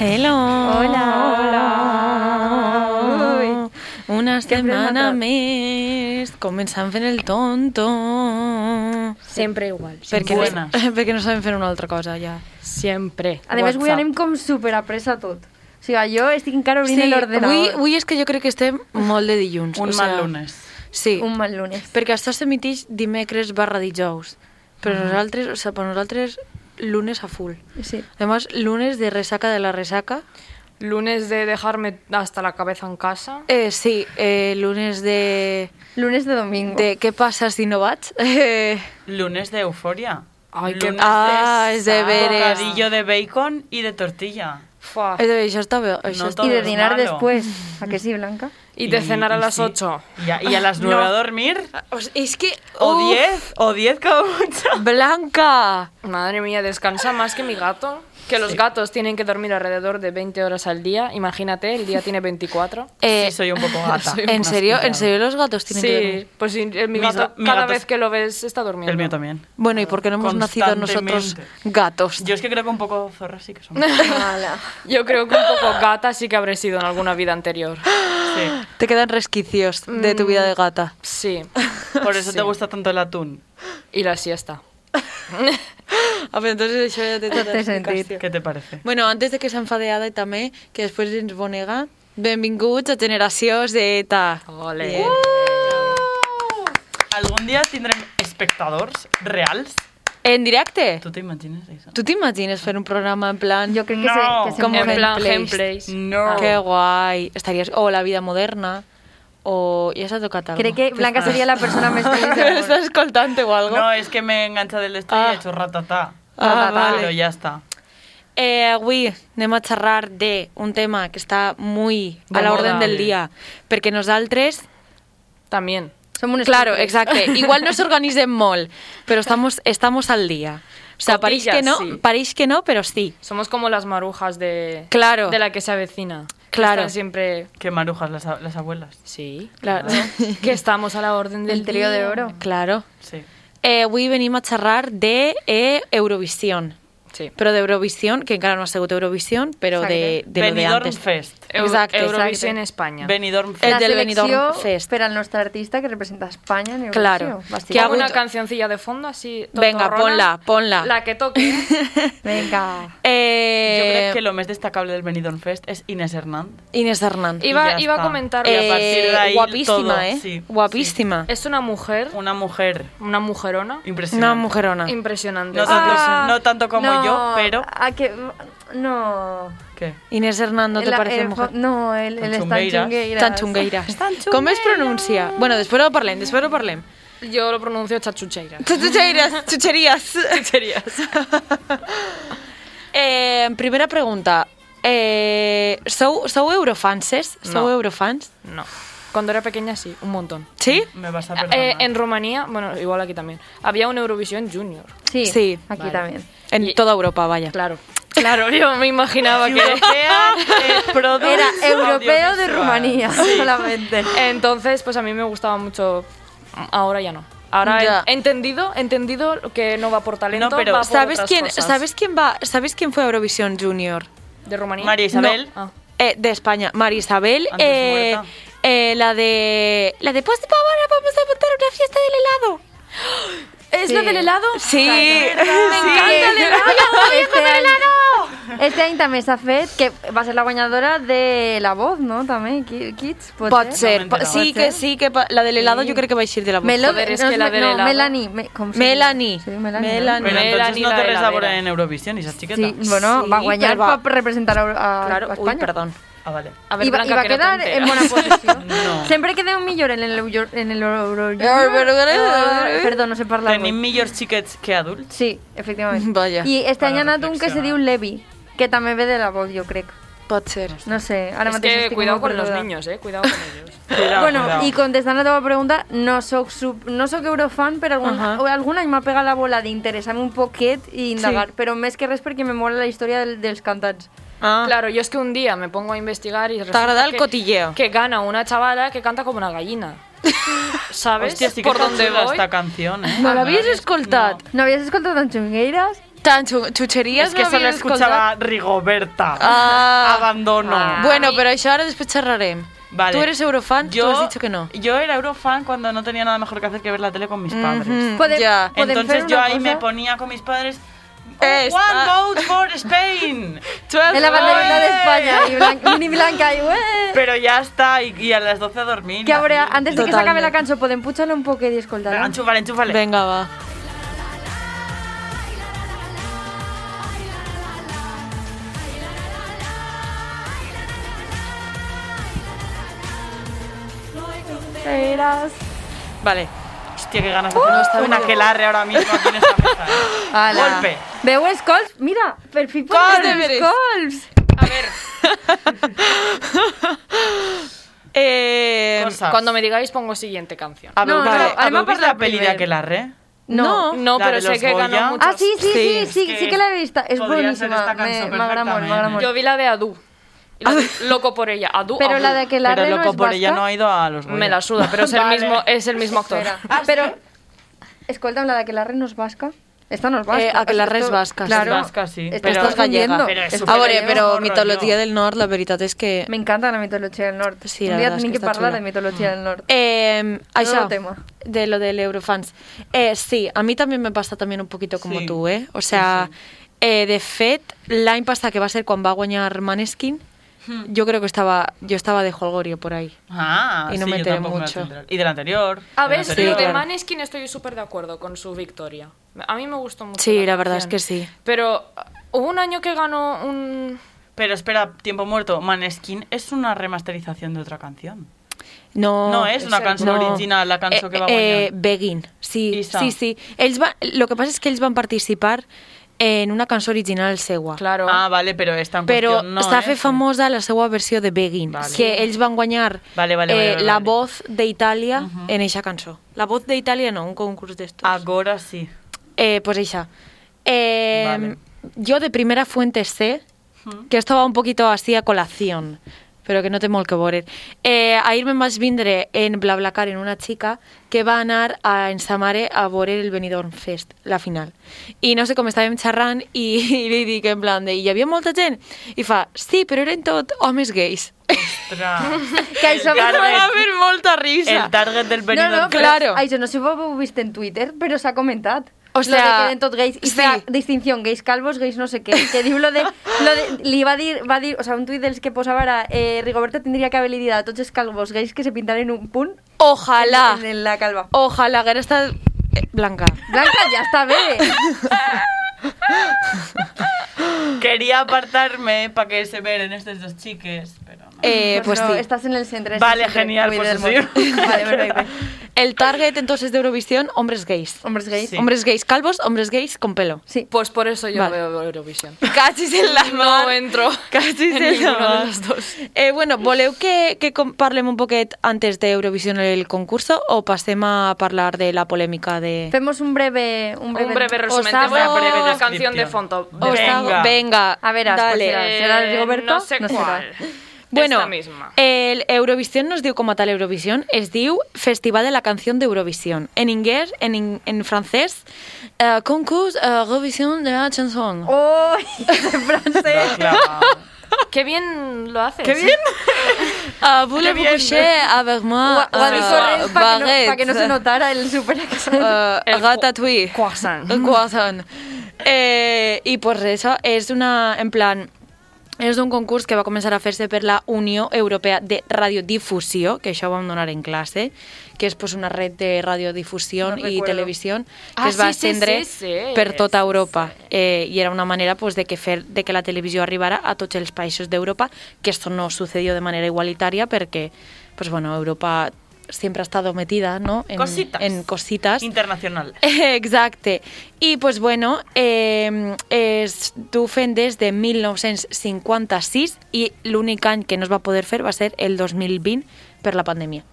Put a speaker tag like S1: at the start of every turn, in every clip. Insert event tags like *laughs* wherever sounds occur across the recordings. S1: Hello.
S2: Hola.
S1: Hola. Una
S2: Què has
S1: setmana
S2: rematat?
S1: més començant fent el tonto.
S3: Sempre igual.
S1: Perquè,
S4: Buenas.
S1: *laughs* perquè no sabem fer una altra cosa, ja.
S3: Sempre.
S2: A més, avui
S3: WhatsApp.
S2: anem com super a pressa tot. O sigui, jo estic encara obrint sí, l'ordenador.
S1: avui, avui és que jo crec que estem molt de dilluns.
S4: Un
S1: o
S4: mal
S1: sea,
S4: lunes.
S1: Sí,
S2: Un mal lunes.
S1: perquè això s'emitix dimecres barra dijous. Però nosaltres, o sea, per nosaltres, lunes a full.
S2: Sí.
S1: Además, lunes de resaca de la resaca.
S3: Lunes de dejarme hasta la cabeza en casa.
S1: Eh, sí, eh, lunes de...
S2: Lunes de domingo.
S1: de què passa si no *laughs* vaig? Eh,
S4: Lunes de euforia.
S3: Ay, qué-
S4: lunes
S1: ah, és de veres.
S4: bocadillo de bacon y de tortilla.
S3: Fua.
S1: Eh, això està bé. Això
S4: No
S1: està...
S2: y
S4: todo
S2: de
S4: es
S2: dinar
S4: malo.
S2: después. ¿A que sí, Blanca?
S3: Y de cenar a
S4: y
S3: las
S4: sí.
S3: 8.
S4: Y a, y a las 9 a dormir.
S1: O sigui, és Ah, pues, que...
S4: O
S1: uf,
S4: 10, o 10 como mucho.
S1: Blanca!
S3: Madre mía, descansa más que mi gato. Que los gatos tienen que dormir alrededor de 20 horas al día. Imagínate, el día tiene 24.
S1: Eh,
S4: sí, soy un poco gata.
S3: soy
S1: ¿En serio? ¿En serio los gatos tienen que dormir?
S3: Sí, pues sí, el- mi
S4: Mis
S3: gato,
S4: ga- mi
S3: cada
S4: gato
S3: vez
S4: es-
S3: que lo ves está durmiendo.
S4: El mío también.
S1: Bueno, ¿y por qué no hemos nacido nosotros
S4: Constantemente.
S1: gatos?
S4: Yo es que creo que un poco zorras sí que son.
S2: Mala.
S3: Yo creo que un poco gata sí que habré sido en alguna vida anterior.
S4: Sí.
S1: Te quedan resquicios de tu vida de gata.
S3: Sí.
S4: Por eso te
S3: Sí.
S4: gusta tanto el atún.
S3: Y la siesta.
S1: A ver, entonces això ja té
S2: tota Té sentit. explicació.
S4: ¿Qué te parece?
S1: Bueno, antes de que s'enfadeada i també que després ens bonega, benvinguts a Generació Z.
S3: Ole.
S1: Bien.
S4: Algún día tendrán espectadores reales.
S1: En directe?
S4: ¿Tú te imaginas eso?
S1: Tu t'imagines fer un programa en plan...
S2: Yo creo que
S4: No.
S2: se... Que se
S1: Mm. Com
S3: en
S2: mueren.
S3: plan
S1: gameplays.
S3: gameplays.
S4: No.
S1: Qué guai. Estaries... O la vida moderna, o... Ja s'ha tocat alguna
S2: Crec que Blanca seria la persona
S1: *laughs*
S2: més feliç del món.
S1: Estàs escoltant o algo?
S4: No, es que me engancha del esto
S1: Ah.
S4: y he hecho ratatá.
S1: Ah,
S4: Pero
S1: vale.
S4: ya está.
S1: Eh, avui anem a xerrar de un tema que està molt
S3: De
S1: a l'ordre
S3: moda.
S1: del dia, perquè nosaltres
S3: También.
S2: Som unes
S1: Claro,
S2: estúpides.
S1: exacte. Igual no s'organitzem molt, però estamos, estamos al día. O sea, pareix
S3: Cotillas,
S1: que no,
S3: sí.
S1: pareix que no, però sí.
S3: Somos como las marujas de,
S1: Claro.
S3: de la que se avecina. Que
S1: Claro.
S3: están siempre...
S4: Qué marujas las, a- las abuelas.
S3: Sí.
S1: Claro.
S3: *laughs* Que estamos a la orden del
S2: Del trío de
S3: día.
S2: oro.
S1: Claro.
S4: Sí.
S1: Eh, avui venim a xerrar de eh, Eurovisió.
S3: Sí.
S1: Però d'Eurovisió, que encara no ha sigut Eurovisió, però de, de lo de
S4: Benidorm
S1: antes.
S4: Fest.
S3: Eu-
S1: Exacte,
S3: Eurovisión
S1: exacte.
S3: España.
S4: Benidorm Fest.
S2: La
S1: del
S2: selecció
S1: Benidorm Fest.
S2: per al nostre artista que representa Espanya en Eurovisió.
S1: Claro.
S2: Bastida.
S1: Que ha
S3: Pongo una
S1: hagut-
S3: cancioncilla de fondo así.
S1: Venga,
S3: tontorrona.
S1: ponla, ponla.
S3: La que toque.
S2: Venga.
S4: Yo
S1: Eh,
S4: creo que lo más destacable del Benidorm Fest es Inés Hernández.
S1: Inés Hernández.
S4: Y
S3: Iba,
S4: ya
S3: iba a
S4: está.
S3: comentar.
S4: Y a partir de ahí
S1: guapísima,
S4: todo,
S1: ¿eh?
S4: sí,
S1: guapísima.
S3: Es una mujer,
S4: Una mujer
S3: una mujerona,
S4: impresionante.
S1: Una mujerona.
S3: impresionante.
S4: No tanto, no tanto como
S2: Ah, no,
S4: yo, pero...
S2: A que... No...
S4: ¿Qué?
S1: Inés Hernández, ¿te
S2: La-
S1: parece
S2: el-
S1: mujer?
S2: No, el, el Stan
S4: Tanchungueiras.
S2: Chungueiras.
S1: Tan xungueira. Com es pronuncia? Bueno, després ho parlem, després ho parlem.
S3: Ah, Yo lo pronuncio chachucheira.
S1: Chucherías, chucherías. *laughs* eh, primera pregunta. Eh, sou, sou eurofanses? Sou
S3: No.
S1: eurofans?
S3: No. Cuando era pequeña sí, un montón.
S1: Sí?
S4: Me vas a
S3: Eh,
S4: perdonar.
S3: en Rumanía, bueno, igual aquí también, había un Eurovisión Junior.
S2: Sí,
S1: Sí.
S2: aquí
S3: Vale.
S2: también.
S1: *laughs* En
S3: Y-
S1: toda Europa, vaya.
S3: Claro. Claro, yo me
S4: *laughs*
S3: imaginaba que...
S4: Europea de Products
S2: Era europeo de
S4: eh, Audiovisual.
S2: Rumanía solamente.
S3: Entonces, pues a mí me gustaba mucho. Ahora ya no. Ahora he-
S1: Ya.
S3: he entendido, he entendido que no va por talento,
S4: No, pero
S3: va por
S1: ¿Sabes
S3: otras
S1: quién,
S3: cosas.
S1: ¿sabes quién va? ¿Sabes quién fue a Eurovisión Junior?
S3: De Rumanía.
S4: María Isabel.
S3: Ah.
S1: Eh, de España, María Isabel,
S4: Antes
S1: eh,
S4: muerta.
S1: eh, la de la de pues ahora vamos a montar una fiesta del helado.
S3: ¿Es
S2: Sí.
S3: la del helado?
S1: Sí,
S3: Me encanta el helado.
S2: Este any, este any també s'ha fet, que va ser la guanyadora de La Voz, no? També, Ki- Kids, pot,
S1: Pot
S2: ser?
S1: ser,
S4: No me he
S1: po- sí que sí que pa- la del helado yo creo que va a ir de la voz.
S2: Melo-
S3: Joder, es
S2: no,
S3: que la del
S2: no,
S3: helado.
S2: Melanie. me- com se diu?
S1: Melanie.
S2: Sí, Melanie.
S1: Melanie.
S4: Pero entonces
S3: Melanie,
S4: no
S3: la
S4: te
S3: de la
S4: resabora
S3: vera.
S4: en Eurovisión, esa chiqueta.
S2: Sí, bueno,
S1: Sí,
S2: va guanyar
S1: però va-
S2: per representar a, a,
S1: Claro,
S2: a
S1: uy,
S2: Espanya.
S1: perdón.
S4: Ah, vale.
S3: A ver,
S2: I, va,
S3: Blanca,
S2: i va
S3: que no te
S2: quedar en
S3: enteras. *laughs*
S2: bona posició.
S4: No.
S2: Sempre queda un millor en el Euro... En el Euro...
S1: però-
S2: Perdó, no sé parlar avui.
S4: Tenim millors xiquets que adults.
S2: Sí,
S3: *laughs*
S2: efectivament.
S1: Vaja.
S2: I este any
S4: Para
S2: ha anat un que se diu
S4: reflexionar.
S2: Levi, que també ve de la voz, jo crec.
S1: Pot ser.
S2: No sé, ara
S3: Es
S2: mateix
S3: que
S2: estic
S3: cuidado
S2: molt
S3: con los
S2: perduda.
S3: niños, eh. Cuidado con ellos.
S4: Cuidao,
S2: bueno,
S4: cuidao.
S2: i contestant la teva pregunta, no sóc, sub, no sóc eurofan, però algun,
S1: Ahà.
S2: uh -huh. algun any m'ha pegat la bola d'interessar-me un poquet i indagar,
S1: Sí.
S2: sí. però més que res perquè me mola la història del, dels cantants.
S1: Ah.
S3: Claro, yo es que un día me pongo a investigar y resulta
S1: agrada el
S3: que-
S1: cotilleo.
S3: Que gana una chavala que canta como una gallina. *laughs* ¿Sabes?
S4: Hòstia, sí que
S3: por
S4: està
S3: dónde
S4: xula
S3: voy.
S4: esta canción, eh?
S1: No l'havies escoltat?
S2: No havies escoltat en Xungueiras?
S1: escuchaban chu- chucheries
S4: Es que
S1: no
S4: solo
S1: havien
S4: escuchaba Rigoberta.
S1: Ah.
S4: Abandono.
S1: escoltat? Bueno, pero això ara després xerrarem.
S4: Vale.
S1: Tú eres eurofan, tú
S4: Yo-
S1: has dicho que no.
S4: Yo era Eurofan cuando no tenía nada mejor que hacer que ver la tele con mis padres.
S1: Mm,
S2: Podem-
S1: ya.
S2: podem
S4: Entonces
S2: fer
S4: yo
S2: una
S4: ahí
S2: cosa?
S4: me ponía con mis padres.
S1: Esta-
S4: One vote for
S1: *laughs*
S4: Spain. Twelve
S2: En la banderita de
S4: votes.
S2: España. Y blan-
S4: *laughs*
S2: mini blanca y "Ué".
S4: Pero ya está, y, y a las 12 a dormir.
S2: Que a veure, antes de que
S1: Totalment.
S2: s'acabi la cançó, podem pujar-la un poquet i escoltar-la?
S4: Enchúfale, enchúfale.
S1: Venga, va.
S2: Verás.
S4: Vale. Hostia, qué
S1: Uh,
S4: ganas de hacer una quelarre ahora mismo aquí en esta mesa.
S1: *laughs*
S4: ¿eh?
S2: Ala.
S4: Golpe.
S2: Veu els colps? Mira, per fi
S1: Colps
S2: pots
S1: de
S2: els
S1: veres.
S2: colps.
S1: Eh,
S4: Cosas.
S3: Cuando me digáis pongo siguiente canción.
S4: A ver,
S2: No, no,
S4: vale,
S2: además
S4: ¿habéis visto
S2: para
S4: la peli de
S2: primero.
S4: aquelarre?
S1: no.
S3: Ah, No,
S4: La
S3: pero
S4: de
S3: sé
S4: los
S3: que
S4: Goya.
S3: ganó muchos.
S2: Ah, sí, sí,
S1: Sí,
S2: sí,
S1: es
S2: sí,
S4: que
S2: sí que la he visto. Es
S4: podría ser
S2: buenísima.
S4: esta
S2: Me,
S4: canción
S2: me agrada molt, me agrada
S4: perfectamente.
S2: molt.
S3: Yo vi la de Adu. Y la- Loco por ella. Adu,
S2: Pero
S3: Adu.
S2: la de que la
S4: Pero
S2: re no
S4: loco
S2: es
S4: por ella
S2: vasca.
S4: no ha ido a los Goya.
S3: Me la suda, pero es
S4: *laughs*
S3: el mismo, es el mismo actor.
S2: Espera.
S4: Ah,
S2: Pero, escolta, la de que la re no es vasca. Esta no es vasca.
S1: Eh, Aquelarre
S2: Esto-
S1: es vasca, sí.
S2: Claro.
S4: Es vasca, sí.
S2: Te
S4: Pero-
S2: estás
S1: Esta es gallega.
S2: confundiendo.
S4: Pero es
S2: Esto-
S1: A veure,
S4: superhéroes,
S1: però
S4: bon
S1: mitologia
S4: rotllo.
S1: del nord, la veritat és que...
S2: Me encanta la mitologia del nord.
S1: Sí, la
S2: Un dia
S1: verdad es
S2: tenim
S1: que
S2: que,
S1: está
S2: parlar
S1: chula.
S2: de mitologia del nord.
S1: Eh, això,
S2: Nuevo tema.
S1: de lo del Eurofans. Eh, sí, a mí también me pasa también un poquito como
S4: Sí.
S1: tú, eh? O sea, eh, de fet, l'any passat que va ser quan va guanyar Maneskin,
S4: Hmm.
S1: yo creo que estaba, yo estaba de holgorio por ahí.
S4: Ah,
S1: Y no
S4: sí,
S1: me
S4: yo
S1: enteré
S4: tampoco me la
S1: mucho.
S4: tendré. Y del anterior.
S3: A
S4: del
S3: ver,
S1: Sí,
S4: anterior.
S3: lo de
S1: claro.
S3: Maneskin estoy súper de acuerdo con su victoria. A mí me gustó mucho.
S1: Sí, la verdad es
S3: canción.
S1: que sí.
S3: Pero ah, hubo un año que ganó un...
S4: Pero espera, Tiempo Muerto, Maneskin es una remasterización de otra canción.
S1: No,
S4: No és una
S1: exacte.
S4: cançó original, la cançó que va
S1: eh,
S4: guanyar.
S1: Begging, sí,
S4: Issa.
S1: sí, sí. Ells va, lo que pasa es que ells van participar en una cançó original seua.
S3: Claro.
S4: Ah, vale, pero esta en
S1: Però
S4: cuestión no,
S1: s'ha
S4: eh?
S1: fet famosa la seva versió de Begging,
S4: Vale.
S1: que ells van guanyar
S4: Vale, vale,
S1: eh,
S4: vale, vale, Mhm.
S1: la
S4: vale.
S1: voz d'Itàlia en eixa cançó. La voz d'Itàlia no, un concurs d'estos.
S4: Ahora
S3: *laughs*
S4: sí.
S1: Eh, pues eixa. Eh,
S4: Vale.
S1: Jo de primera fuente sé que esto va un poquito así a colación, però que no té molt que veure. Eh, ahir me'n vaig vindre en BlaBlaCar en una xica que va anar a, en sa mare a veure el Benidorm Fest, la final. I no sé com estàvem xerrant i, i li dic en plan de, hi havia molta gent? I fa, sí, però eren tot homes gais. *laughs* Em
S4: Ostras.
S2: Que això
S4: El target.
S1: Va haver molta risa.
S4: El target del
S2: No,
S4: Benidorm.
S2: no, però
S1: Claro.
S2: això no sé si ho heu vist en Twitter, però s'ha comentat.
S1: O
S2: lo de
S1: sea,
S2: que eren tot gais, i
S1: sí.
S2: fa distinción, gais calvos, gais no sé qué, que diu lo de, lo de li va dir, va dir, o sea, un tuit dels que posava ara, eh, Rigoberta tindria que haver li dit a tots els calvos gais que se pintaren un punt
S1: Ojalà,
S2: en, en la calva.
S1: ojalà haguera estat eh, blanca.
S2: Blanca, ja està bé.
S4: Quería apartarme para que se veren estos dos chiques, pero no. *laughs*
S1: Eh, pues,
S2: pues no,
S1: sí.
S2: estàs en el centre.
S4: Vale,
S2: estàs en el
S4: genial,
S2: centre,
S4: pues
S2: cuida el
S4: sí. *laughs*
S2: món. Vale, perfecte.
S1: El target entonces de Eurovisión, hombres gays.
S2: Hombres gais.
S4: Sí.
S1: Hombres gays calvos, hombres gays con pelo.
S2: Sí.
S3: Pues por eso yo
S1: Vale.
S3: veo Eurovisión.
S1: *laughs* Casi en la
S3: No entro
S1: Casi en
S3: en
S1: la
S3: ninguna de
S1: mar.
S3: las dos.
S1: Eh, bueno, voleu que, que com- parlem un poquet antes de Eurovisión el concurso o passem a parlar de la polèmica de...
S2: Femos un breve... Un breve,
S3: Un breve resumen.
S1: hago-
S3: Te voy a poner
S1: Breve
S3: una canción de
S4: descripción.
S3: fondo. Eh,
S1: Os
S4: Venga.
S1: hago- venga,
S2: A veure,
S1: dale.
S2: escolta, ¿Será el Rigoberto?
S3: No sé
S2: No
S3: cuál.
S2: será.
S1: Bueno, eh,
S3: Esta misma.
S1: el Eurovisión no es diu com a tal Eurovisión, es diu Festival de la Canción de Eurovisión. En inglés, en, in- en francès, eh, Concurs Eurovisión de la Chanson.
S2: ¡Oh! *laughs* En francés.
S4: No, claro.
S3: Qué bien lo haces.
S4: ¡Qué bien!
S1: Ah, vous le
S4: bien.
S1: couchez avec moi
S2: Gua- Guadi
S1: euh,
S2: Correns para que, no,
S1: baguette,
S2: pa que no se notara el super accent.
S1: euh,
S3: El
S1: ratatouille.
S3: Croissant.
S1: El croissant. Eh, I pues eso és una, en plan, és un concurs que va començar a fer-se per la Unió Europea de Radiodifusió, que això ho vam donar en classe, que és pues, una red de radiodifusió
S2: No
S1: i
S2: recuerdo.
S1: televisió que
S3: Ah,
S1: es va
S3: sí, sí,
S1: estendre
S3: sí, sí,
S1: per tota
S3: sí,
S1: Europa. Eh, I era una manera pues, de, que fer, de que la televisió arribara a tots els països d'Europa, que esto no sucedió de manera igualitària perquè pues, bueno, Europa sempre ha estat metida no? en,
S4: Cositas.
S1: en cositas.
S4: Internacional.
S1: *laughs* Exacte. I, pues, bueno, eh, es du fent des de 1956 i l'únic any que no es va poder fer va ser el 2020 per la pandèmia.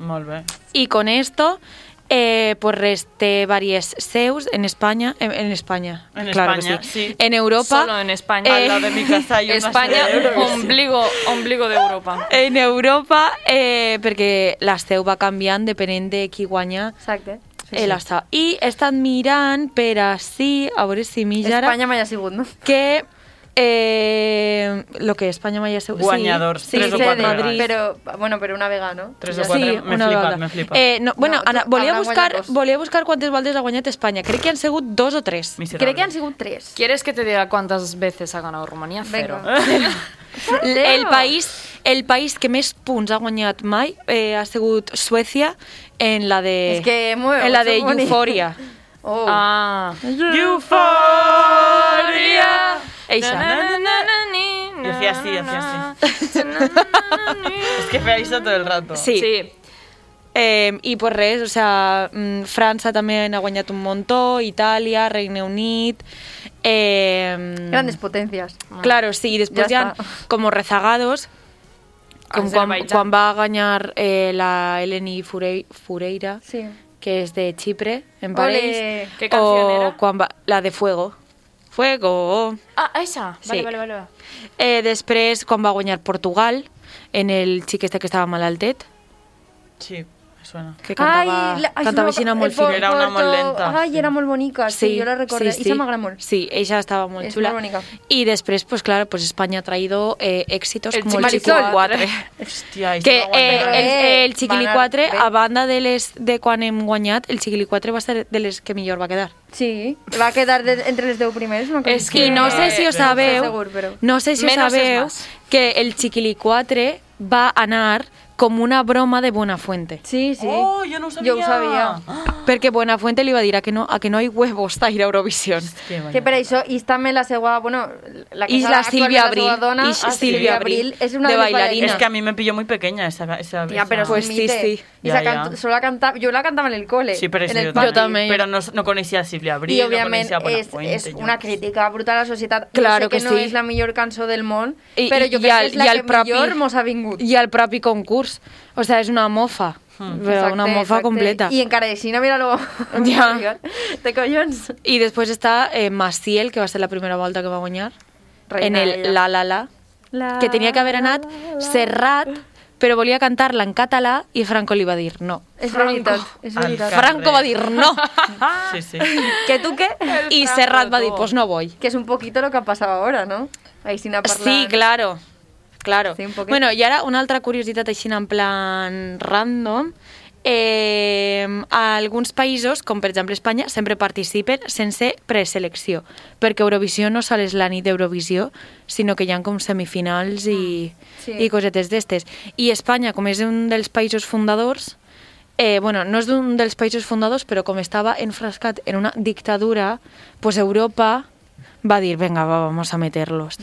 S4: Molt bé.
S1: Y con esto, eh, pues resté varios seus en España, en, en España,
S4: En
S1: claro
S4: España,
S1: que
S4: sí.
S1: en Europa,
S3: Solo en España.
S1: Eh, *laughs*
S4: Al lado de mi casa hay una
S3: España,
S4: sede de Eurovisión.
S3: ombligo, ombligo de Europa.
S1: en Europa, eh, perquè la seu va canviant depenent de qui guanya
S2: Exacte.
S1: el està. I he estat mirant per així, a veure si millara,
S2: Espanya mai ha sigut, no?
S1: que... Eh, lo que Espanya mai ha sigut...
S4: Guanyadors,
S1: sí,
S4: tres
S1: sí,
S4: o
S1: de
S4: quatre
S1: Madrid.
S2: Però, bueno, però una vega, no?
S4: Tres
S1: Ja.
S4: o quatre,
S1: sí,
S4: me
S1: una
S4: flipa,
S1: vegada.
S4: me flipa.
S1: Eh, no, bueno,
S2: No,
S1: Anna,
S2: tu-
S1: volia
S2: Anna ha guanyat
S1: buscar,
S2: dos.
S1: volia buscar quantes voltes ha guanyat Espanya. Crec que han sigut dos o tres.
S4: Miserable.
S2: Crec que han sigut tres.
S3: ¿Quieres que te diga cuántas veces ha ganado Rumanía? Cero.
S2: Venga.
S1: El país, el país que més punts ha guanyat mai eh, ha sigut Suècia en la de...
S2: És que molt bé,
S1: Eh, en la de
S2: som bonic.
S1: Euphoria.
S2: *laughs* Oh.
S3: Ah.
S4: Euphoria.
S1: Eixa.
S4: Yo hacía así, yo hacía
S3: *laughs*
S4: Es que veáis todo el rato.
S1: Sí.
S3: Sí.
S1: Eh, I pues res, o sea, mm, França també n'ha guanyat un muntó, Itàlia, Regne Unit... Eh,
S2: Grandes potencias.
S1: Claro, sí, i després
S2: Ja
S1: ja hi ha
S2: està.
S1: com rezagados, com quan,
S3: Azerbaiyán.
S1: quan va guanyar eh, la Eleni Furei, Fureira,
S2: Sí.
S1: que és de Xipre, en
S2: Ole.
S1: París.
S3: Què canción
S1: o
S3: era?
S1: quan va, la de Fuego. Fuego.
S3: Ah, esa. Vale,
S1: Sí.
S3: vale, vale.
S1: Eh, després, quan va guanyar Portugal, en el xic este que estava malaltet,
S4: Sí, me suena.
S1: que cantava,
S2: la- ai,
S1: cantava
S2: se
S1: així
S2: m'ha-
S1: molt
S2: el por-
S1: fina.
S4: Era una molt
S2: porto-
S4: lenta,
S2: Ai,
S4: sí.
S2: era molt bonica, sí, jo la recordé. I se m'agrada molt.
S1: Sí, ella estava molt
S2: És
S1: xula.
S2: molt bonica.
S1: I després, pues claro, pues Espanya ha traído eh, éxitos
S3: El
S1: com el
S3: Chiquilí
S1: Chiquilí 4.
S3: *laughs*
S4: Hostia, y
S1: Que
S4: se lo
S1: eh,
S4: aguantaron.
S1: el, el Chiquilí
S2: Van anar
S1: 4,
S2: bé.
S1: a banda de, les, de quan hem guanyat, el Chiquilí 4 va ser de les que millor va quedar.
S2: Sí, va quedar de, entre les 10 primers. No?
S3: És que-
S1: I no
S3: Eh,
S1: sé si ho
S4: però-
S1: sabeu,
S2: Segur, però-
S1: no sé si ho
S3: Menos es
S1: sabeu
S3: más.
S1: que el Chiquilí 4 va anar com una broma de Buenafuente.
S2: Sí, sí.
S4: Oh, yo no lo sabía.
S2: Yo lo sabía.
S1: Perquè Buenafuente li va dir a que no, a que no hi huevos a ir a Eurovisión.
S4: Qué Pues vaya.
S2: Que per això, i és també la seva, bueno, la que
S1: I
S2: és
S1: la
S2: actualment
S1: Sílvia
S2: la seva
S1: Abril,
S2: dona,
S1: i
S2: ah,
S1: Sílvia Abril,
S2: és una
S1: de
S2: de,
S1: bailarina.
S2: les
S4: Es
S2: ballarines.
S4: que a mí me pilló muy pequeña esa... esa
S2: Tía, pero
S4: esa-
S1: Pues
S2: es un
S1: sí,
S2: mite.
S1: sí.
S2: Y
S4: Ya,
S2: la
S4: ya.
S2: canto- solo la cantaba, yo la cantaba en el cole.
S4: Sí, pero
S2: en
S4: sí,
S2: el
S4: yo
S2: patio.
S1: Yo también.
S4: Pero no, no coneixia Silvia Abril,
S2: Y
S4: no
S2: obviamente
S4: coneixia Buena
S2: es,
S4: Fuente,
S2: es
S4: yo
S2: una
S4: no sé.
S2: crítica brutal a la societat.
S1: Claro
S2: Claro que,
S1: que
S2: no
S1: sí.
S2: és la millor cançó del món,
S1: I-
S2: però
S1: i-
S2: jo
S1: i
S2: crec
S1: al-
S2: que és la
S1: i al
S2: que
S1: propi-
S2: millor mos ha vingut.
S1: I el propi concurs. O sea, és una mofa. Però una mofa completa.
S2: Hmm. I encara així, no, mira-lo. *laughs*
S1: Ja.
S2: Te collons.
S1: I després està eh, Maciel, que va ser la primera volta que va guanyar, en
S2: Reina
S1: el
S2: ella.
S1: La La La,
S2: La
S1: que tenia que haver anat Serrat, però volia cantar-la en català i Franco li va dir no.
S2: És veritat, és
S4: Al
S2: veritat.
S4: cap.
S1: Franco va dir no!
S2: *laughs*
S4: Sí, sí.
S2: Que tu què?
S1: I Serrat va dir, pues no voy.
S2: Que és un poquito lo que ha passat ara, no? Aixina parlant.
S1: Sí, claro. Claro.
S2: Sí, un poquet.
S1: bueno, i ara una altra curiositat així en plan random. Eh, a alguns països, com per exemple Espanya, sempre participen sense preselecció, perquè Eurovisió no sol és la nit d'Eurovisió, sinó que hi ha com semifinals i,
S2: Ah, Sí.
S1: i cosetes d'estes. I Espanya, com és un dels països fundadors, eh, bueno, no és d'un dels països fundadors, però com estava enfrascat en una dictadura, pues Europa va dir, venga, va, vamos a meterlos.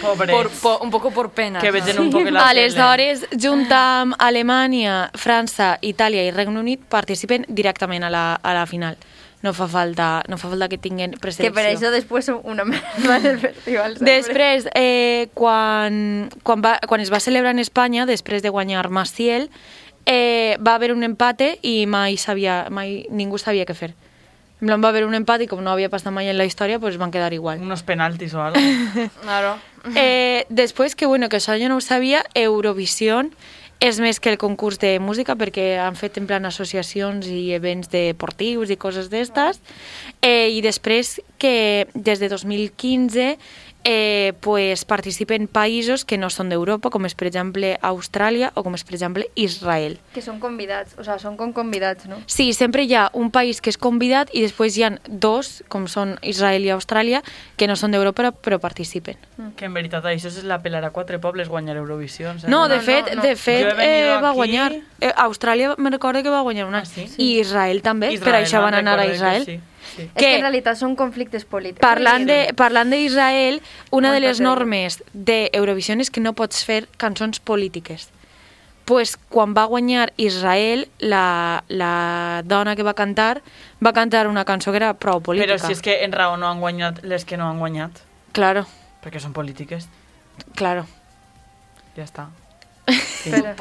S4: Pobre.
S3: Por- po- un poco por pena.
S4: Que
S3: ¿no?
S4: veten un poco la tele.
S1: Aleshores, junta amb Alemanya, França, Itàlia i Regne Unit, participen directament a la, a la final. No fa falta, no fa falta que tinguin
S2: Que
S1: preselecció.
S2: per això després una merda *laughs* del festival. sempre.
S1: Després, eh, quan, quan, va, quan es va celebrar en Espanya, després de guanyar Maciel, eh, va haver un empate i mai, sabia, mai ningú sabia què fer. En plan, va haver un empat i com no havia passat mai en la història, pues van quedar igual.
S4: Unos penaltis o algo.
S3: Claro.
S1: Eh, després, que bueno, que això jo no ho sabia, Eurovision és més que el concurs de música perquè han fet en plan associacions i events deportius i coses d'estes eh, i després que des de 2015 eh, pues, participen països que no són d'Europa com és per exemple Austràlia o com és per exemple Israel.
S2: Que són convidats, o sigui, són com convidats, no?
S1: Sí, sempre hi ha un país que és convidat i després hi han dos, com són Israel i Austràlia, que no són d'Europa però participen.
S4: que en veritat això és la pelar a quatre pobles guanyar Eurovisió. saps?
S1: No, de
S2: No, no,
S1: fet,
S2: no.
S1: de fet
S4: Jo he venido
S1: eh, va
S4: aquí-
S1: guanyar. Eh, Austràlia me'n recordo que va guanyar una.
S4: Ah, sí?
S1: I Israel també, Israel, per
S4: Israel,
S1: això van
S4: em
S1: anar a
S4: recordo que
S1: Israel.
S4: Sí, sí.
S2: És que
S1: Que-
S2: en realitat són conflictes polítics.
S1: Parlant de- Parlant d'Israel, una de
S2: Molta
S1: les
S4: eh?
S2: tela.
S1: normes d'Eurovisió és que no pots fer cançons polítiques. Pues quan va guanyar Israel, la, la dona que va cantar va cantar una cançó que era prou política.
S4: Però si és que en raó no han guanyat les que no han guanyat,
S1: Claro,
S4: perquè són polítiques,
S1: claro. *laughs*
S4: ja està. Sí.
S2: Espera.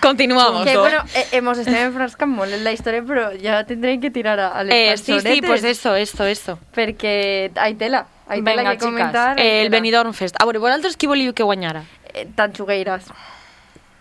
S1: Continuamos.
S2: Que,
S4: Punto.
S2: bueno, eh, hemos estado enfrascant molt en la història, però ja tendré que tirar a, a les
S1: Eh, sí, sí,
S2: cançonetes,
S1: pues esto, esto, esto.
S2: Perquè hay tela, hay tela
S3: Venga,
S2: que
S3: chicas,
S2: comentar. hay
S1: Eh, el
S2: tela.
S1: Benidorm Fest. A veure, vosaltres qui volíeu que guanyara?
S2: Eh, Tanxugueiras.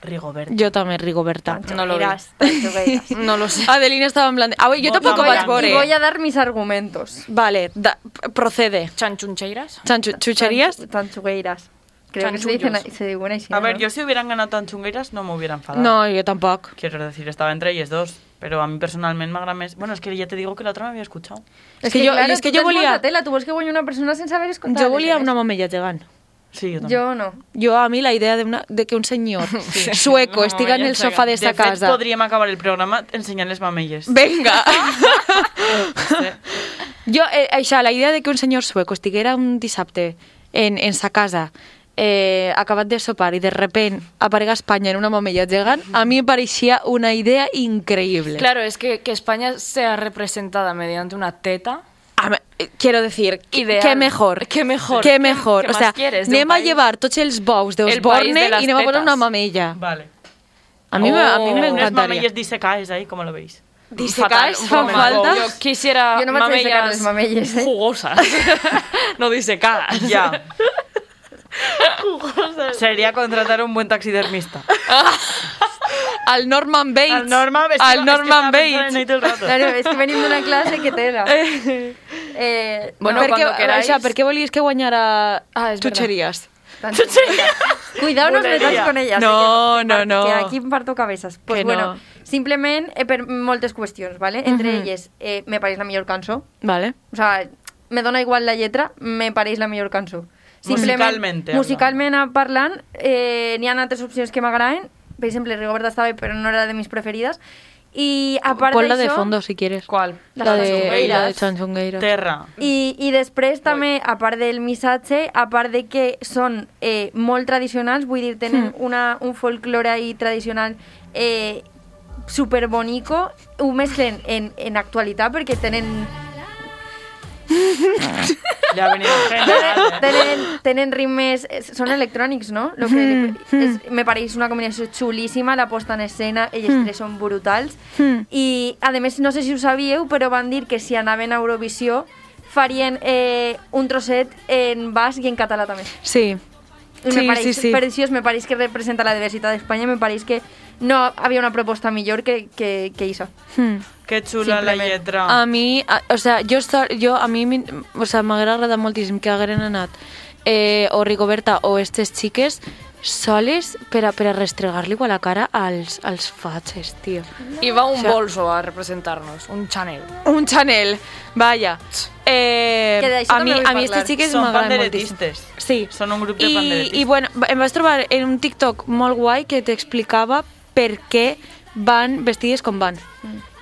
S4: Rigoberta.
S1: Jo també, Rigoberta.
S3: No lo vi.
S2: Verás, tancho que
S1: *laughs*
S2: dirás.
S3: No lo sé.
S1: Adelina estava en plan... de, "Ah, bé, jo
S4: Vota
S1: tampoc
S2: Voy
S1: vaig
S2: a-
S4: Blanca.
S1: veure.
S2: y voy a dar mis argumentos.
S1: Vale, da, procede.
S3: ¿Chanchuncheiras?
S1: Chanchu- ¿Chucherías?
S2: Tanchu- Tanchugueiras. Creo que se dicen
S3: Chanchullos.
S2: se dicen así.
S4: A ver,
S2: ¿no?
S4: yo si hubieran ganado tan chungueras no me hubiera enfadado.
S1: No, jo tampoc.
S4: Quiero decir, estaba entre ellas dos. Pero a mí personalmente me agrames... Bueno, es que ya te digo que la otra no había escuchado.
S1: És que, jo,
S2: claro,
S1: és que
S2: tú
S1: jo
S2: te
S1: volia...
S2: encuentras Tela, tú ves que voy una persona sin saber escuchar.
S1: Jo volia una mamella gegant.
S4: Sí, yo también.
S2: Yo no.
S1: Jo, a mi, la idea de, una, de que un senyor sueco
S3: una
S1: estiga en
S3: mamella
S1: el sofà
S4: De
S1: d'esta
S4: fet,
S1: casa...
S4: podríem acabar el programa ensenyant
S1: *laughs*
S4: les mamelles.
S1: Venga.
S4: Sí.
S1: jo, eh, això, la idea de que un senyor sueco estiguera un dissabte en, en sa casa eh, acabat de sopar i de repent aparega Espanya en una mamella gegant, a mi em pareixia una idea increïble.
S3: Claro, es que, que España sea representada mediante una teta.
S1: A me- eh, Quiero decir,
S3: Ideal.
S1: ¿qué mejor?
S3: Qué mejor.
S1: ¿Qué
S3: ¿Qué-
S1: mejor?
S3: qué
S1: o
S3: más
S1: sea,
S3: quieres de un
S1: anem a
S3: país?
S1: llevar tots els bous
S3: El país
S1: d'Osborne
S3: de las
S1: i anem a poner
S3: tetas.
S1: una mamella.
S4: Vale.
S1: A mi, me- a
S3: Oh.
S1: mi
S4: Unas
S1: m'encantaria.
S4: mamelles disecáis ahí, como lo veis.
S1: Dissecaix,
S3: un
S1: fan
S3: poco
S1: falta?
S3: Yo quisiera
S2: Yo no me atrevo a sacar
S3: mamellas,
S2: las mamelles, ¿eh?
S3: jugosas. *laughs* no disecadas.
S4: *laughs* Ya. Sería contratar un buen taxidermista.
S1: Al Norman Bates.
S4: Al Norman, es que- es
S1: Al
S4: que
S1: Norman
S4: estaba pensando
S1: Bates.
S4: en ahí todo el rato.
S2: Claro, es que venimos de una clase
S1: *laughs*
S2: que tela. Eh,
S3: Bueno,
S1: per què,
S3: cuando queráis.
S1: Això, per què volies que guanyara
S3: Ah, és
S1: Chucherías? *laughs*
S2: tanto- Cuidado, no os
S4: Bulería.
S2: metáis con ellas.
S1: No,
S2: eh, que-
S1: no,
S2: que
S1: no.
S2: aquí parto cabezas. Pues
S1: Que
S2: bueno,
S1: no.
S2: simplemente eh, per moltes qüestions, ¿vale? Entre ellas, eh, me parece la mejor canción.
S1: Vale.
S2: O sea, me dona igual la lletra, me pareix la millor cançó.
S4: Musicalmente hablando.
S2: Musicalment parlant, eh, n'hi ha altres opcions que m'agraden. Per exemple, Rigoberta estava bé, però no era de mis preferides. I a part
S1: Ponla de
S2: d'això-
S1: fondo, si quieres.
S3: ¿Cuál?
S2: Las
S1: La de,
S2: chanchungueiras.
S1: la de Chanchungueiras.
S4: Terra.
S2: I, I després també, a part del missatge, a part de que són eh, molt tradicionals, vull dir, tenen
S1: Mm.
S2: una, un folclore i tradicional eh, superbonico, ho mesclen en, en actualitat perquè tenen
S4: Le ha
S1: *laughs*
S4: venido
S2: tenen,
S4: genial. ¿eh?
S2: tenen, tenen ritmes... eh, Són electrònics, no? Lo que li-
S1: Hmm,
S2: és, me pareix una combinació xulíssima, la posta en escena, ells
S1: Hmm.
S2: tres són brutals.
S1: Mm.
S2: I, a més, no sé si ho sabíeu, però van dir que si anaven a Eurovisió farien eh, un trosset en basc i en català també.
S1: Sí.
S2: I
S1: Sí,
S2: me pareix
S1: sí, sí.
S2: preciós, me pareix que representa la diversitat d'Espanya, me pareix que no havia una proposta millor que, que, que això.
S1: Hmm.
S4: Qué chula la
S2: Simplemente.
S4: letra.
S1: A mi, a, o sea, jo, estar, jo a mi m'in- o sea, m'haguera agradat moltíssim que hagueren anat eh, o Rigoberta o estes xiques soles per a, per a restregar-li a la cara als, als fatxes, tio.
S3: Y va un
S1: O sea-
S3: bolso a representarnos, un Chanel.
S1: Un Chanel, vaya. Eh,
S2: Que d'això
S1: a mi,
S2: també
S1: a
S2: vull
S1: mi
S2: parlar.
S1: aquestes xiques
S4: Són
S1: m'agraden moltíssim.
S4: panderetistes.
S1: Sí.
S4: Són un grup de
S1: I,
S4: panderetistes.
S1: I bueno, em vaig trobar en un TikTok molt guai que t'explicava per què van vestides com van.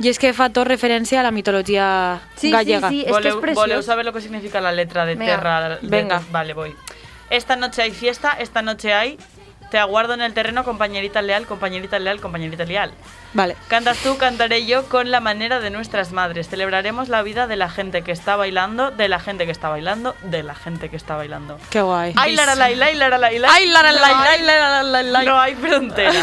S1: I és que fa tot referència a la mitologia
S2: Sí, sí,
S1: gallega.
S2: sí, Es que es
S4: Voleu,
S2: preciós.
S4: voleu saber lo que significa la letra de
S2: Venga.
S4: Terra. de-
S1: Venga.
S4: vale, voy. Esta noche hay fiesta, esta noche hay... Te aguardo en el terreno, compañerita leal, compañerita leal, compañerita leal.
S1: Vale.
S4: Cantas tú, cantaré yo con la manera de nuestras madres. Celebraremos la vida de la gente que está bailando, de la gente que está bailando, de la gente que está bailando.
S1: Qué guay.
S4: Ay, la, la, la, la, la, la, la, la.
S1: Ay, la, la, la, la, la, la, la, la.
S4: No
S1: *laughs*
S4: hay fronteras.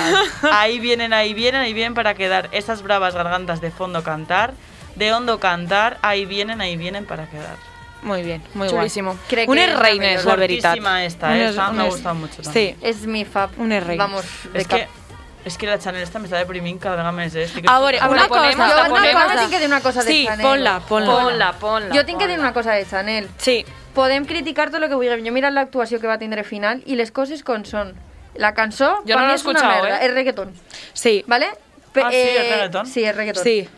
S4: Ahí vienen, ahí vienen, ahí vienen para quedar. Esas bravas gargantas de fondo cantar, de hondo cantar, ahí vienen, ahí vienen para quedar.
S1: Muy bien, muy
S3: Chulísimo.
S1: guai.
S2: Crec que
S1: unes
S2: és la
S1: reines, la
S4: millor.
S1: veritat.
S4: Fortíssima esta, eh? Esta m'ha gustat mucho
S1: Sí.
S4: també.
S2: És mi fab.
S1: Unes reines.
S2: Vamos, de
S4: Es
S2: cap.
S4: que, es que la Chanel esta me está deprimiendo cada vez más. eh. Estic-
S1: Ahora,
S3: Ahora
S1: una
S3: la ponemos,
S1: cosa.
S3: la
S1: una
S3: ponemos.
S1: cosa.
S2: Tinc que dir una cosa de
S1: sí,
S2: Chanel.
S1: ponla, Ah, ponla.
S3: Ponla, ponla.
S2: Jo tinc que dir
S3: ponla.
S2: una cosa de Chanel.
S1: Sí.
S2: Podem criticar tot el que vulguem. Jo mira l'actuació que va tindre final i les coses com són. La cançó,
S3: Jo
S2: per
S3: no
S2: mi
S3: l'he
S2: és una
S3: escuchado,
S2: merda,
S3: eh?
S2: és reggaeton,
S1: Sí.
S2: ¿vale? eh,
S4: Ah, sí, és reggaeton?
S2: Sí, és reggaeton.
S1: Sí.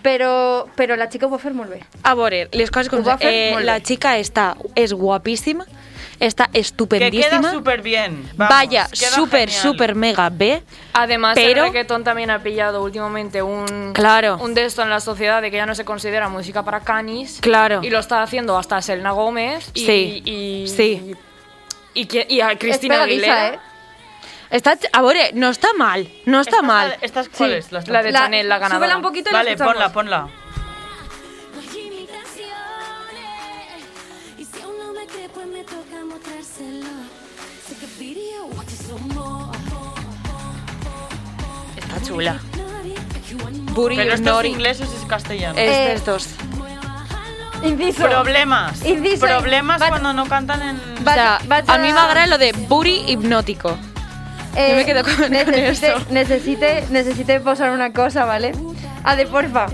S2: Però, però la xica ho va fer molt bé.
S1: A veure, les coses com...
S2: Ho va fer
S1: eh,
S2: molt bé.
S1: la chica està, és guapíssima, està
S4: que queda
S1: estupendíssima.
S4: súper bien. Vamos,
S1: Vaya,
S4: queda
S1: súper,
S4: genial.
S1: súper mega B.
S3: Además,
S1: Pero-
S3: el reggaetón también ha pillado últimamente un,
S1: Claro.
S3: un de esto en la sociedad de que ya no se considera música para canis.
S1: Claro.
S3: Y lo está haciendo hasta Selena Gómez y,
S1: Sí,
S3: y,
S1: sí.
S3: Y, y que- y a Cristina
S2: és
S3: Aguilera.
S2: eh?
S1: Está, a veure, no está mal, no está
S4: Estas-
S1: mal.
S4: ¿Estas cuáles? Las
S3: La de
S2: La-
S3: Chanel, la ganadora.
S2: súbela un poquito y la
S4: Vale,
S2: escuchamos.
S4: ponla, ponla.
S5: Las imitaciones. Y si aún no me cree, pues me toca mostrárselo. Sé que video watches some more.
S4: Está chula.
S1: Booty
S4: Pero esto es
S1: Nori.
S4: inglés o es castellano.
S1: Es
S2: Eh,
S1: estos.
S2: Inciso.
S4: Problemas.
S2: Y dice-
S4: Problemas
S2: va-
S4: cuando no cantan en...
S1: O sea,
S2: vaig
S1: a mi
S2: a-
S1: m'agrada lo de booty hipnótico. Yo me quedo con- con
S2: Eh, necesite,
S1: eso.
S2: Necesite, necesite posar una cosa, ¿vale? A de porfa.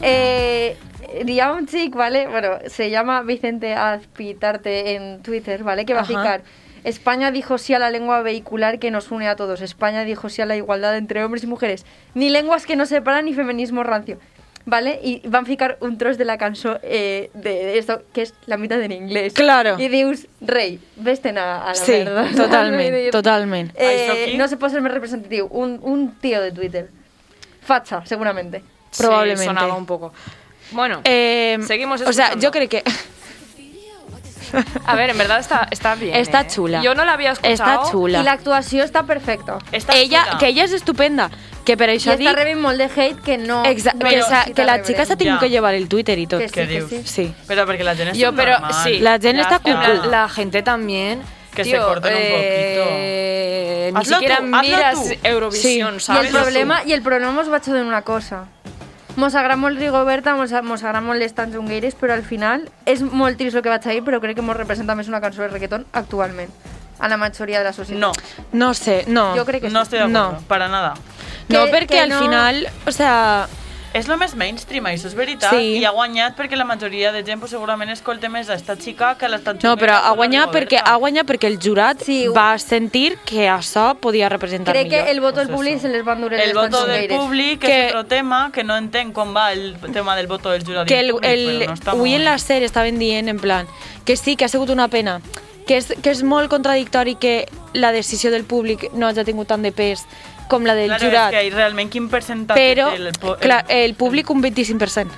S2: Eh, ya un chic, ¿vale? Bueno, se llama Vicente Azpitarte en Twitter, ¿vale? Que va
S1: Ajá.
S2: a picar. España dijo sí a la lengua vehicular que nos une a todos. España dijo sí a la igualdad entre hombres y mujeres. Ni lenguas que nos separan ni feminismo rancio. ¿Vale? Y van a ficar un tros de la canción eh, de, de esto, que es la mitad en inglés.
S1: Claro.
S2: Y dius, rey, vesten a, a la
S1: Sí,
S2: *laughs* verdad.
S1: totalmente, totalment.
S2: Eh,
S4: Això aquí.
S2: no se puede ser más representativo. Un, un tío de Twitter. Facha, seguramente.
S3: Sí,
S1: Probablemente.
S3: sonaba un poco. Bueno,
S1: Eh,
S3: seguimos
S1: O sea,
S3: escuchando.
S1: yo creo que...
S3: a ver, en verdad está, está bien.
S1: Está
S3: ¿eh?
S1: chula.
S3: Yo no la había escuchado.
S1: Està xula.
S2: Y la actuación está perfecta.
S4: Esta
S1: ella,
S4: chica.
S1: que ella es estupenda, que pero
S2: Y
S1: això
S2: está
S1: dic-
S2: re bien molde hate que no...
S1: Exa-
S2: no
S1: que, sa-
S2: necesita
S1: que la
S2: reverendo.
S1: chica se ha tenido
S4: Ya.
S1: que llevar el Twitter y todo.
S2: Que sí,
S4: ¿Qué
S2: que
S4: dius?
S2: sí.
S1: Sí.
S4: Pero porque la tienes
S3: Yo, pero sí.
S1: La Jen
S3: Ya
S1: está
S3: está.
S1: cucú.
S3: La, la gente también.
S4: Que se
S3: tío,
S4: corten un
S3: eh, Ni
S4: Hazlo
S3: siquiera
S4: tú, hazlo
S3: miras
S4: tú.
S3: Eurovisión,
S1: Sí.
S2: Y el
S3: ¿sabes?
S2: problema, y el problema os va hecho de una cosa. Mos agramos Rigoberta, mos, mos agramos les Tanzungueires, pero al final es molt trist lo que va a ir, pero creo que mos representa más una canción de reggaetón actualmente. A la mayoría de la sociedad.
S4: No,
S1: No sé, no.
S2: Yo creo que
S4: no
S2: sí.
S4: estoy de acuerdo,
S1: No.
S4: para nada.
S1: No,
S2: que-
S1: porque
S2: que
S1: al
S2: no-
S1: final, o sea,
S4: És lo més mainstream, això és veritat,
S1: Sí.
S4: i ha guanyat perquè la majoria de gent pues, segurament escolta més a esta xica que l'estat
S1: no, però ha guanyat perquè, ha guanyat perquè el jurat
S2: Sí, ho-
S1: va sentir que això podia representar
S2: Crec
S1: millor.
S2: que el voto
S4: Pues
S2: del público
S4: eso.
S2: se les va a endurecer les
S4: El voto del
S2: Tanzungueires.
S4: públic, que,
S1: Que-
S4: és otro tema, que no entenc com va el tema del voto del jurat.
S1: que el,
S4: públic,
S1: el,
S4: però no està
S1: avui
S4: molt-
S1: en la sèrie estaven dient en plan que sí, que ha sigut una pena que és, que és molt contradictori que la decisió del públic no hagi tingut tant de pes com la del
S4: claro,
S1: jurat
S4: és que ahí realment quin percentatge
S1: però
S4: té el, po- el,
S1: clar,
S3: eh,
S1: el públic un 25%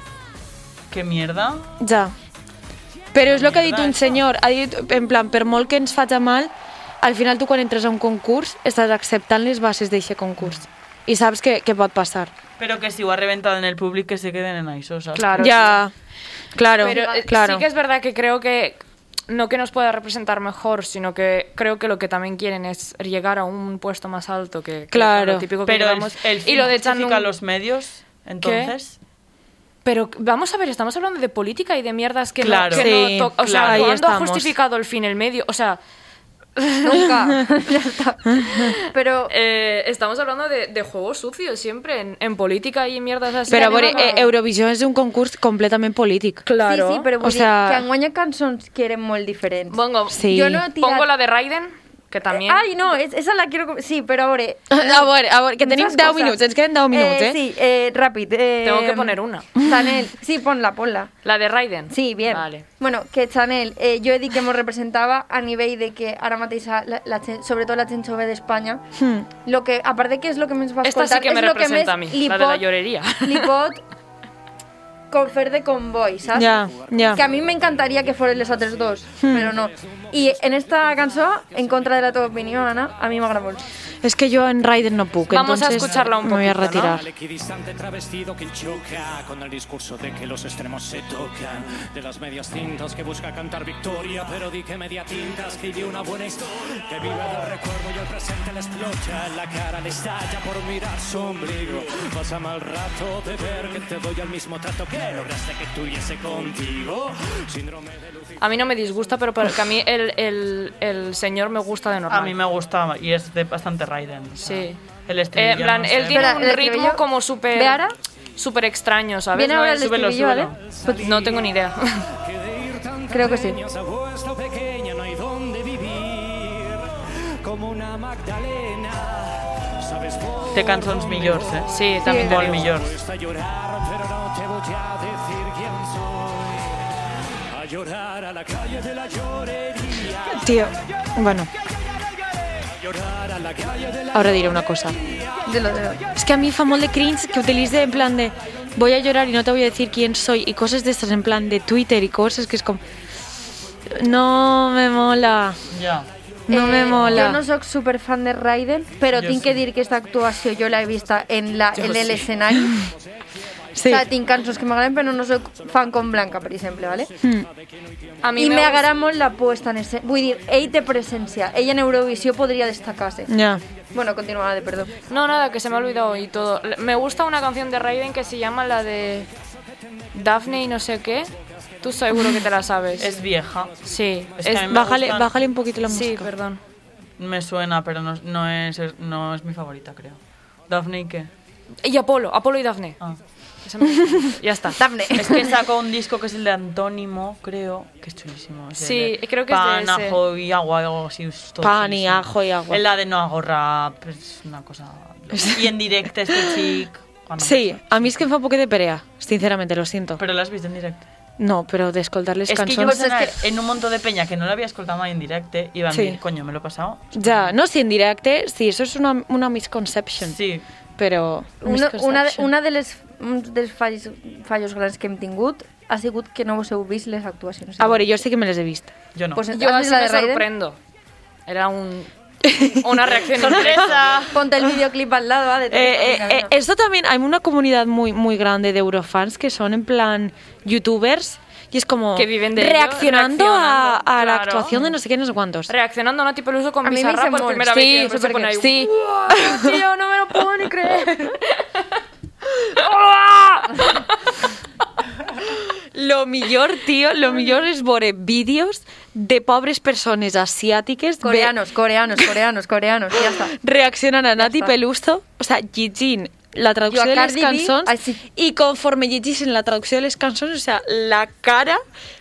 S4: Que mierda.
S1: ja però és el que ha dit
S4: Mierda,
S1: un
S4: això.
S1: senyor ha dit, en plan, per molt que ens faci mal al final tu quan entres a un concurs estàs acceptant les bases d'aquest concurs i saps que, que pot passar
S4: Però que si ho ha reventat en el públic que se queden en això, saps?
S3: Claro.
S1: ja, claro,
S3: Pero eh,
S1: claro.
S3: sí que es verdad que creo que no que nos pueda representar mejor, sino que creo que lo que también quieren es llegar a un puesto más alto que, que
S1: Claro.
S3: lo típico que
S4: Pero el,
S3: llevamos.
S4: el
S3: y lo de Chan
S4: justifica
S3: Nun-
S4: los medios, entonces...
S3: Pero vamos a ver, estamos hablando de política y de mierdas que
S4: Claro.
S3: no, que no
S1: Sí,
S3: to- o sea,
S1: claro. Ahí
S3: ¿cuándo ha
S1: estamos.
S3: justificado el fin el medio? O sea,
S2: Nunca. *laughs* ya está. Pero
S3: eh, estamos hablando de, de juegos sucios siempre en, en política y en mierdas así.
S1: Però a veure,
S2: anem a-
S1: eh, Eurovisió és un concurs completament polític.
S2: sí, sí, pero
S1: O sea-
S2: que han guanyat cançons que eren molt diferents.
S3: Pongo,
S1: Sí.
S2: Yo no he tirado-
S3: pongo la de Raiden, que
S2: Eh,
S3: también.
S2: Ay, no, es- esa la quiero... com- Sí, pero ahora...
S1: *laughs* A veure, a veure, que tenim
S2: Muchas
S1: 10
S2: cosas.
S1: minuts, ens queden 10 minuts, eh?
S2: Sí, eh, rápido. eh,
S3: Tengo que poner una.
S2: *laughs* Chanel, sí, ponla, ponla.
S3: La de Raiden.
S2: Sí, bien.
S3: Vale.
S2: Bueno, que Chanel, eh, jo he dit que mos representava a nivell de que ara mateix, la, la, gent- sobretot la gent jove d'Espanya,
S1: Hmm.
S2: lo que, a part de que és el que més va
S3: Esta
S2: escoltar,
S3: sí que me
S2: és lo que més
S3: representa a mí,
S2: li
S3: la de la
S2: pot-
S3: llorería.
S2: Li
S3: *laughs*
S2: pot confer de convoy, saps?
S1: Ja, ja.
S2: Que a mi m'encantaria que foren les altres dos, però no. I en esta cançó, en contra de la teva opinió, Anna, a mi m'agrada molt.
S1: És que jo en Raiden no puc,
S3: Vamos a
S1: entonces
S3: escucharla un
S1: me voy a
S3: poquito, ¿no?
S1: retirar.
S6: Al equidistante travestido que choca con el discurso de que los extremos se tocan. De las medias cintas que busca cantar victoria, pero di que media tinta escribió una buena historia. Que vive del recuerdo y el presente le explota. La cara le estalla por mirar su ombligo. Pasa mal rato de ver que te doy el mismo trato que lograste que tuviese contigo. Síndrome de Lucifer.
S3: A mí no me disgusta, pero para que a mí el, el- el señor me gusta de normal.
S4: A mí me gusta y es de bastante Raiden. o sea,
S3: Sí.
S4: El
S3: Eh,
S4: estribillo,
S3: en plan,
S4: no
S3: él
S4: sé.
S3: tiene
S2: Espera,
S3: un
S2: ¿el
S3: ritmo
S2: estribillo?
S3: como súper...
S2: ¿Ve ahora?
S3: Súper extraño, ¿sabes?
S2: Viene
S3: No
S2: ahora
S3: es-
S2: el
S4: súbelo,
S2: estribillo, ¿vale?
S3: No tengo ni idea. *laughs*
S6: que de ir tan
S2: Creo que sí.
S6: pequeña se ha vuelto pequeña, no hay dónde vivir. Como una Magdalena, sabes vos
S4: Té cançons millors, eh?
S3: Sí, también te
S4: Molt
S3: digo.
S4: millors.
S6: cuesta llorar, pero no te voy a decir quién soy. A llorar a la calle de la llorería,
S1: Tío, bueno,
S6: a llorar a la calle de la
S1: ahora diré una cosa.
S2: De lo de lo.
S1: És que a mi fa molt de cringe que utilice en plan de voy a llorar y no te voy a decir quién soy y cosas de estas en plan de Twitter y cosas que es como... No me mola,
S4: Ja.
S1: no me
S2: Jo Eh, no
S1: mola.
S2: sóc super fan de Raiden, però
S4: Jo
S2: tinc que
S4: sí.
S2: dir que esta actuació jo l'he vista en, la, en el escenari. O
S1: Sí,
S2: sea, tinc cançons que m'agraden, però no sóc fan com Blanca, per exemple, ¿vale?
S3: A mí
S2: I
S3: me gusta-
S2: m'agrada molt la puesta en escena. Vull dir, ell té presència. Ell en Eurovisió podria destacar-se.
S1: ja.
S2: Bueno, continuava, de perdó.
S3: No, nada, que se me ha olvidado y todo. Le- Me gusta una canción de Raiden que se llama la de Daphne y no sé qué. Tú seguro que te la sabes.
S4: És vieja.
S3: Sí,
S4: Es
S3: es,
S4: que a mí me
S1: Bájale,
S4: gustan.
S1: bájale un poquito la
S3: Sí,
S1: música.
S3: perdón.
S4: Me suena, pero no, no, es, no es mi favorita, creo. ¿Daphne y qué?
S3: Y Apolo, Apolo y Dafne.
S4: Ah.
S3: Esa me gusta. ya está.
S2: Dafne.
S4: Es que sacó un disco que es el de Antónimo, creo, que es chulísimo. es
S3: Sí,
S4: el de
S3: creo que es de
S4: Pan,
S3: ese.
S4: ajo y agua, algo así. es todo
S1: Pan y
S4: chulísimo.
S1: ajo y agua.
S4: Es la de no hago rap, es una cosa... Y en directo este chic... bueno,
S1: Sí,
S4: no sé.
S1: a mi es que em fa un poc de perea, sinceramente, lo siento.
S4: Però l'has vist en directe?
S1: No, però d'escoltar-les
S4: És que jo
S1: cançons...
S4: vaig anar en un muntó de penya que no l'havia escoltat mai en directe i vam
S1: Sí.
S4: dir, coño, me lo he pasado.
S1: Ja, no, si en directe, sí, eso es una, una misconception.
S4: Sí,
S1: Però...
S2: Una, una, de-
S1: misconception.
S2: una de les, un dels falls, fallos grans que hem tingut ha sigut que no vos heu vist les actuacions.
S1: A veure, jo sí que me les he vist.
S4: jo no.
S2: Pues
S4: Pues
S2: ¿Has
S3: Yo
S2: visto
S3: así
S2: la de
S3: me
S2: Raiden?
S3: sorprendo.
S2: *laughs*
S3: Era un, una reacción
S4: ¡Sorpresa!
S2: Ponte el videoclip al lado, ¿va? De
S1: Eh, eh, eh, esto también, hay una comunidad muy, muy grande de eurofans que son en plan youtubers y es como
S3: Que viven de ello,
S1: reaccionando, a,
S3: reaccionando,
S1: a la
S3: claro.
S1: actuación de no sé quién, no sé cuántos.
S3: Reaccionando a Nati Peluso con
S2: A mí me
S3: Bizarra
S2: hice
S3: por
S2: mol.
S3: primera
S1: Sí,
S3: vez. y de repente se
S1: súper
S3: pone pues, ahí, uh.
S1: que- sí.
S3: "Wow, tío, no me lo puedo ni creer.
S1: Lo millor, tío, lo millor és veure vídeos de pobres persones asiàtiques ve-
S2: Coreanos, coreanos, coreanos, coreanos, ja està.
S1: reaccionant a Nati
S2: està.
S1: Peluso, o sea, llegint la traducció
S2: Jo a
S1: de les
S2: Cardi B,
S1: cançons
S2: ai, sí.
S1: i conforme llegeixen la traducció de les cançons, o sea, la cara,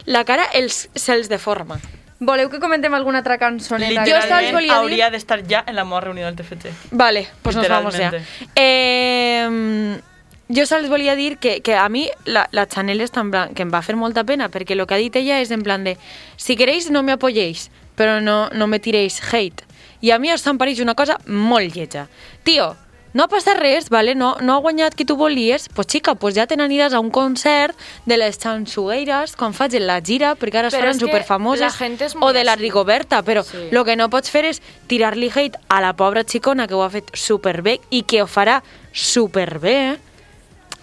S1: la cara els, se'ls deforma.
S2: Voleu que comentem alguna altra cançoneta?
S1: Jo estava-
S4: Literalment
S1: saps, volia dir-
S4: hauria d'estar ja en la meva reunió del TFT.
S1: Vale, pues nos vamos ya.
S4: Literalmente.
S1: Eh, jo sols volia dir que, que a mi la, la Chanel és tan blanc, que em va fer molta pena, perquè el que ha dit ella és en plan de si queréis no me apoyéis, però no, no me tiréis hate. I a mi això em pareix una cosa molt lletja. Tio, no ha passat res, vale? no, no ha guanyat qui tu volies, pues xica, pues ja te n'aniràs a un concert de les Chansugueires quan facin la gira, perquè ara
S3: Però
S1: seran
S3: és que
S1: superfamoses,
S3: la gent és
S1: o
S3: molt
S1: de la
S3: així.
S1: Rigoberta, però
S3: Sí.
S1: lo que no pots fer és tirar-li hate a la pobra xicona que ho ha fet superbé i que ho farà superbé,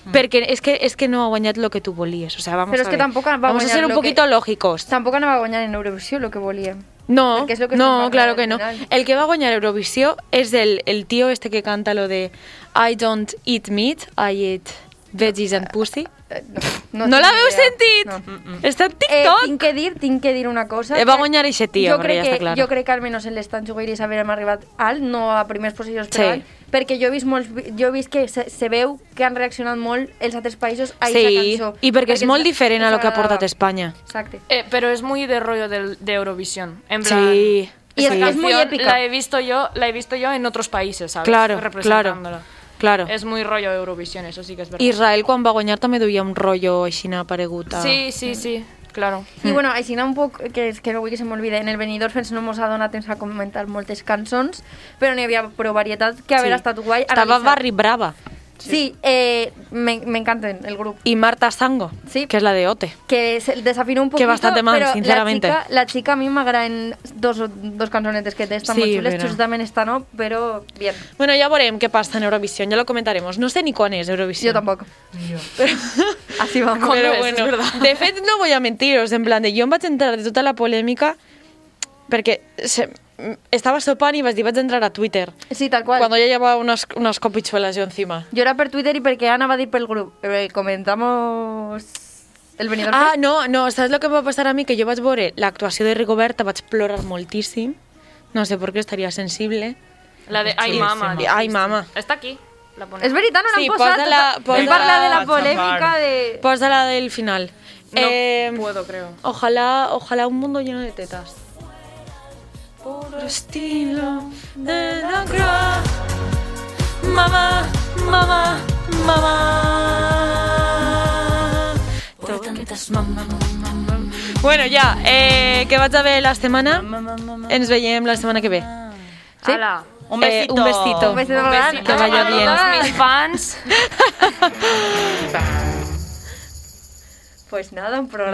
S1: mm. perquè és que, és que no ha guanyat el que tu volies. O sea, vamos
S2: Però és
S1: a
S2: que
S1: ver.
S2: tampoc va
S1: vamos a
S2: guanyar
S1: ser un
S2: lo
S1: poquito
S2: que-
S1: lógicos.
S2: Tampoc anava a guanyar en Eurovisió, lo que volíem.
S1: No,
S2: Porque es lo que se
S1: no,
S2: paga
S1: claro
S2: al
S1: que no.
S2: final.
S1: El que va a guañar Eurovisión es el, el tío este que canta lo de I don't eat meat, I eat veggies and pussy.
S2: Eh, No,
S1: No,
S2: tinc
S1: l'haveu
S2: idea,
S1: sentit?
S2: no.
S1: Està en
S2: Eh,
S1: TikTok.
S2: tinc que dir, tinc que dir una cosa.
S1: Eh, va
S2: que
S1: guanyar eixe tio,
S2: jo
S1: però
S2: crec
S1: ja està
S2: que,
S1: clar.
S2: Jo crec que almenys en les Tanjugueiris havíem arribat alt, no a primers posicions, però
S1: Sí.
S2: alt, perquè jo he vist, molts, vi- jo he vist que se, se veu que han reaccionat molt els altres països a aquesta
S1: sí,
S2: cançó.
S1: i perquè és molt
S2: ens-
S1: diferent a
S2: ens
S1: lo que ha portat
S2: agradava.
S1: Espanya.
S2: Exacte.
S3: Eh, pero es muy de rollo del- de Eurovisión. En plan,
S1: Sí.
S2: Y
S1: sí.
S2: es que es muy
S3: canción
S2: épica.
S3: La he visto yo, la he visto yo en otros países, ¿sabes?
S1: Claro,
S3: Representándola.
S1: Claro.
S3: Es muy rollo Eurovisión, eso sí que es verdad.
S1: Israel quan va guanyar també duia un rollo així paregut a...
S3: Sí, sí, sí, claro.
S1: Mm.
S2: I bueno, així un poc, que, és que no vull que se m'olvide, en el Benidorm Fest no mos ha donat temps a comentar moltes cançons, però n'hi havia prou varietat que haver estat guai.
S1: Estava
S2: analitzar.
S1: Barry Brava
S2: Sí, eh, me, me encanten el grup.
S1: i Marta Sango,
S2: Sí.
S1: que és la de Ote.
S2: que se desafinó un poquito,
S1: bastante mal,
S2: pero
S1: sinceramente.
S2: La chica, la chica a mí me agradan dos, dos cancionetes que te están
S1: Sí,
S2: muy chulas,
S1: pero-
S2: Chus también está, ¿no? Pero bien,
S1: Bueno, ja veurem què passa en Eurovisión, ja lo comentaremos. No sé ni quan és Eurovisión.
S2: yo tampoco. *laughs* Así vamos.
S3: ¿Cuándo
S1: Però
S3: és?
S1: bueno,
S3: És verdad.
S1: de fet, no voy a mentiros, en plan de jo em vaig entrar de tota la polèmica perquè se, m- estava sopant i vaig dir vaig entrar a Twitter
S2: Sí, tal cual.
S1: quan ja llevava unes, unes copichuelas jo encima.
S2: Yo era per Twitter y porque Ana va a ir por el grupo. comentamos el venidor.
S1: Ah, no, no, saps el que em va passar a mi? Que jo vaig veure l'actuació de Rigoberta, vaig plorar moltíssim, no sé per què estaria sensible.
S3: La de Ay Mama.
S1: Sí, Ai, mama.
S3: Está aquí. La pone.
S2: Es veritat, no
S1: Sí,
S2: l'han posat.
S1: posa-la-
S2: tota-
S1: posa-la-
S2: Vam parlar de la
S4: Vaig
S2: polèmica
S4: xapar.
S2: de...
S1: Posa Pues la del final.
S3: No
S1: Eh,
S3: puedo, creo.
S1: Ojalá, ojalá un mundo lleno de tetas. Puro estilo de la Mamá, mamá, mamá.
S5: Por tantas mamá, mamá, mamá.
S1: Bueno, ja, eh, que vaig a veure la setmana. Ens veiem la setmana que ve.
S3: Sí. Ala.
S4: Un
S1: Eh,
S4: besito.
S1: un besito.
S2: Un besito gran.
S1: Que vaya
S3: a
S1: bien.
S3: todos mis fans.
S2: Pues nada, un programa.